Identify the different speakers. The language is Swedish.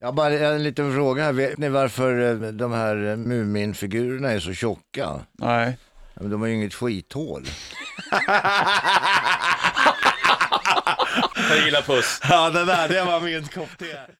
Speaker 1: Jag har bara en liten fråga. här. Vet ni varför eh, de här eh, Muminfigurerna är så tjocka?
Speaker 2: Nej.
Speaker 1: Ja, men De har ju inget skithål.
Speaker 3: Jag gillar puss.
Speaker 2: Ja, det där, det var min kopp te.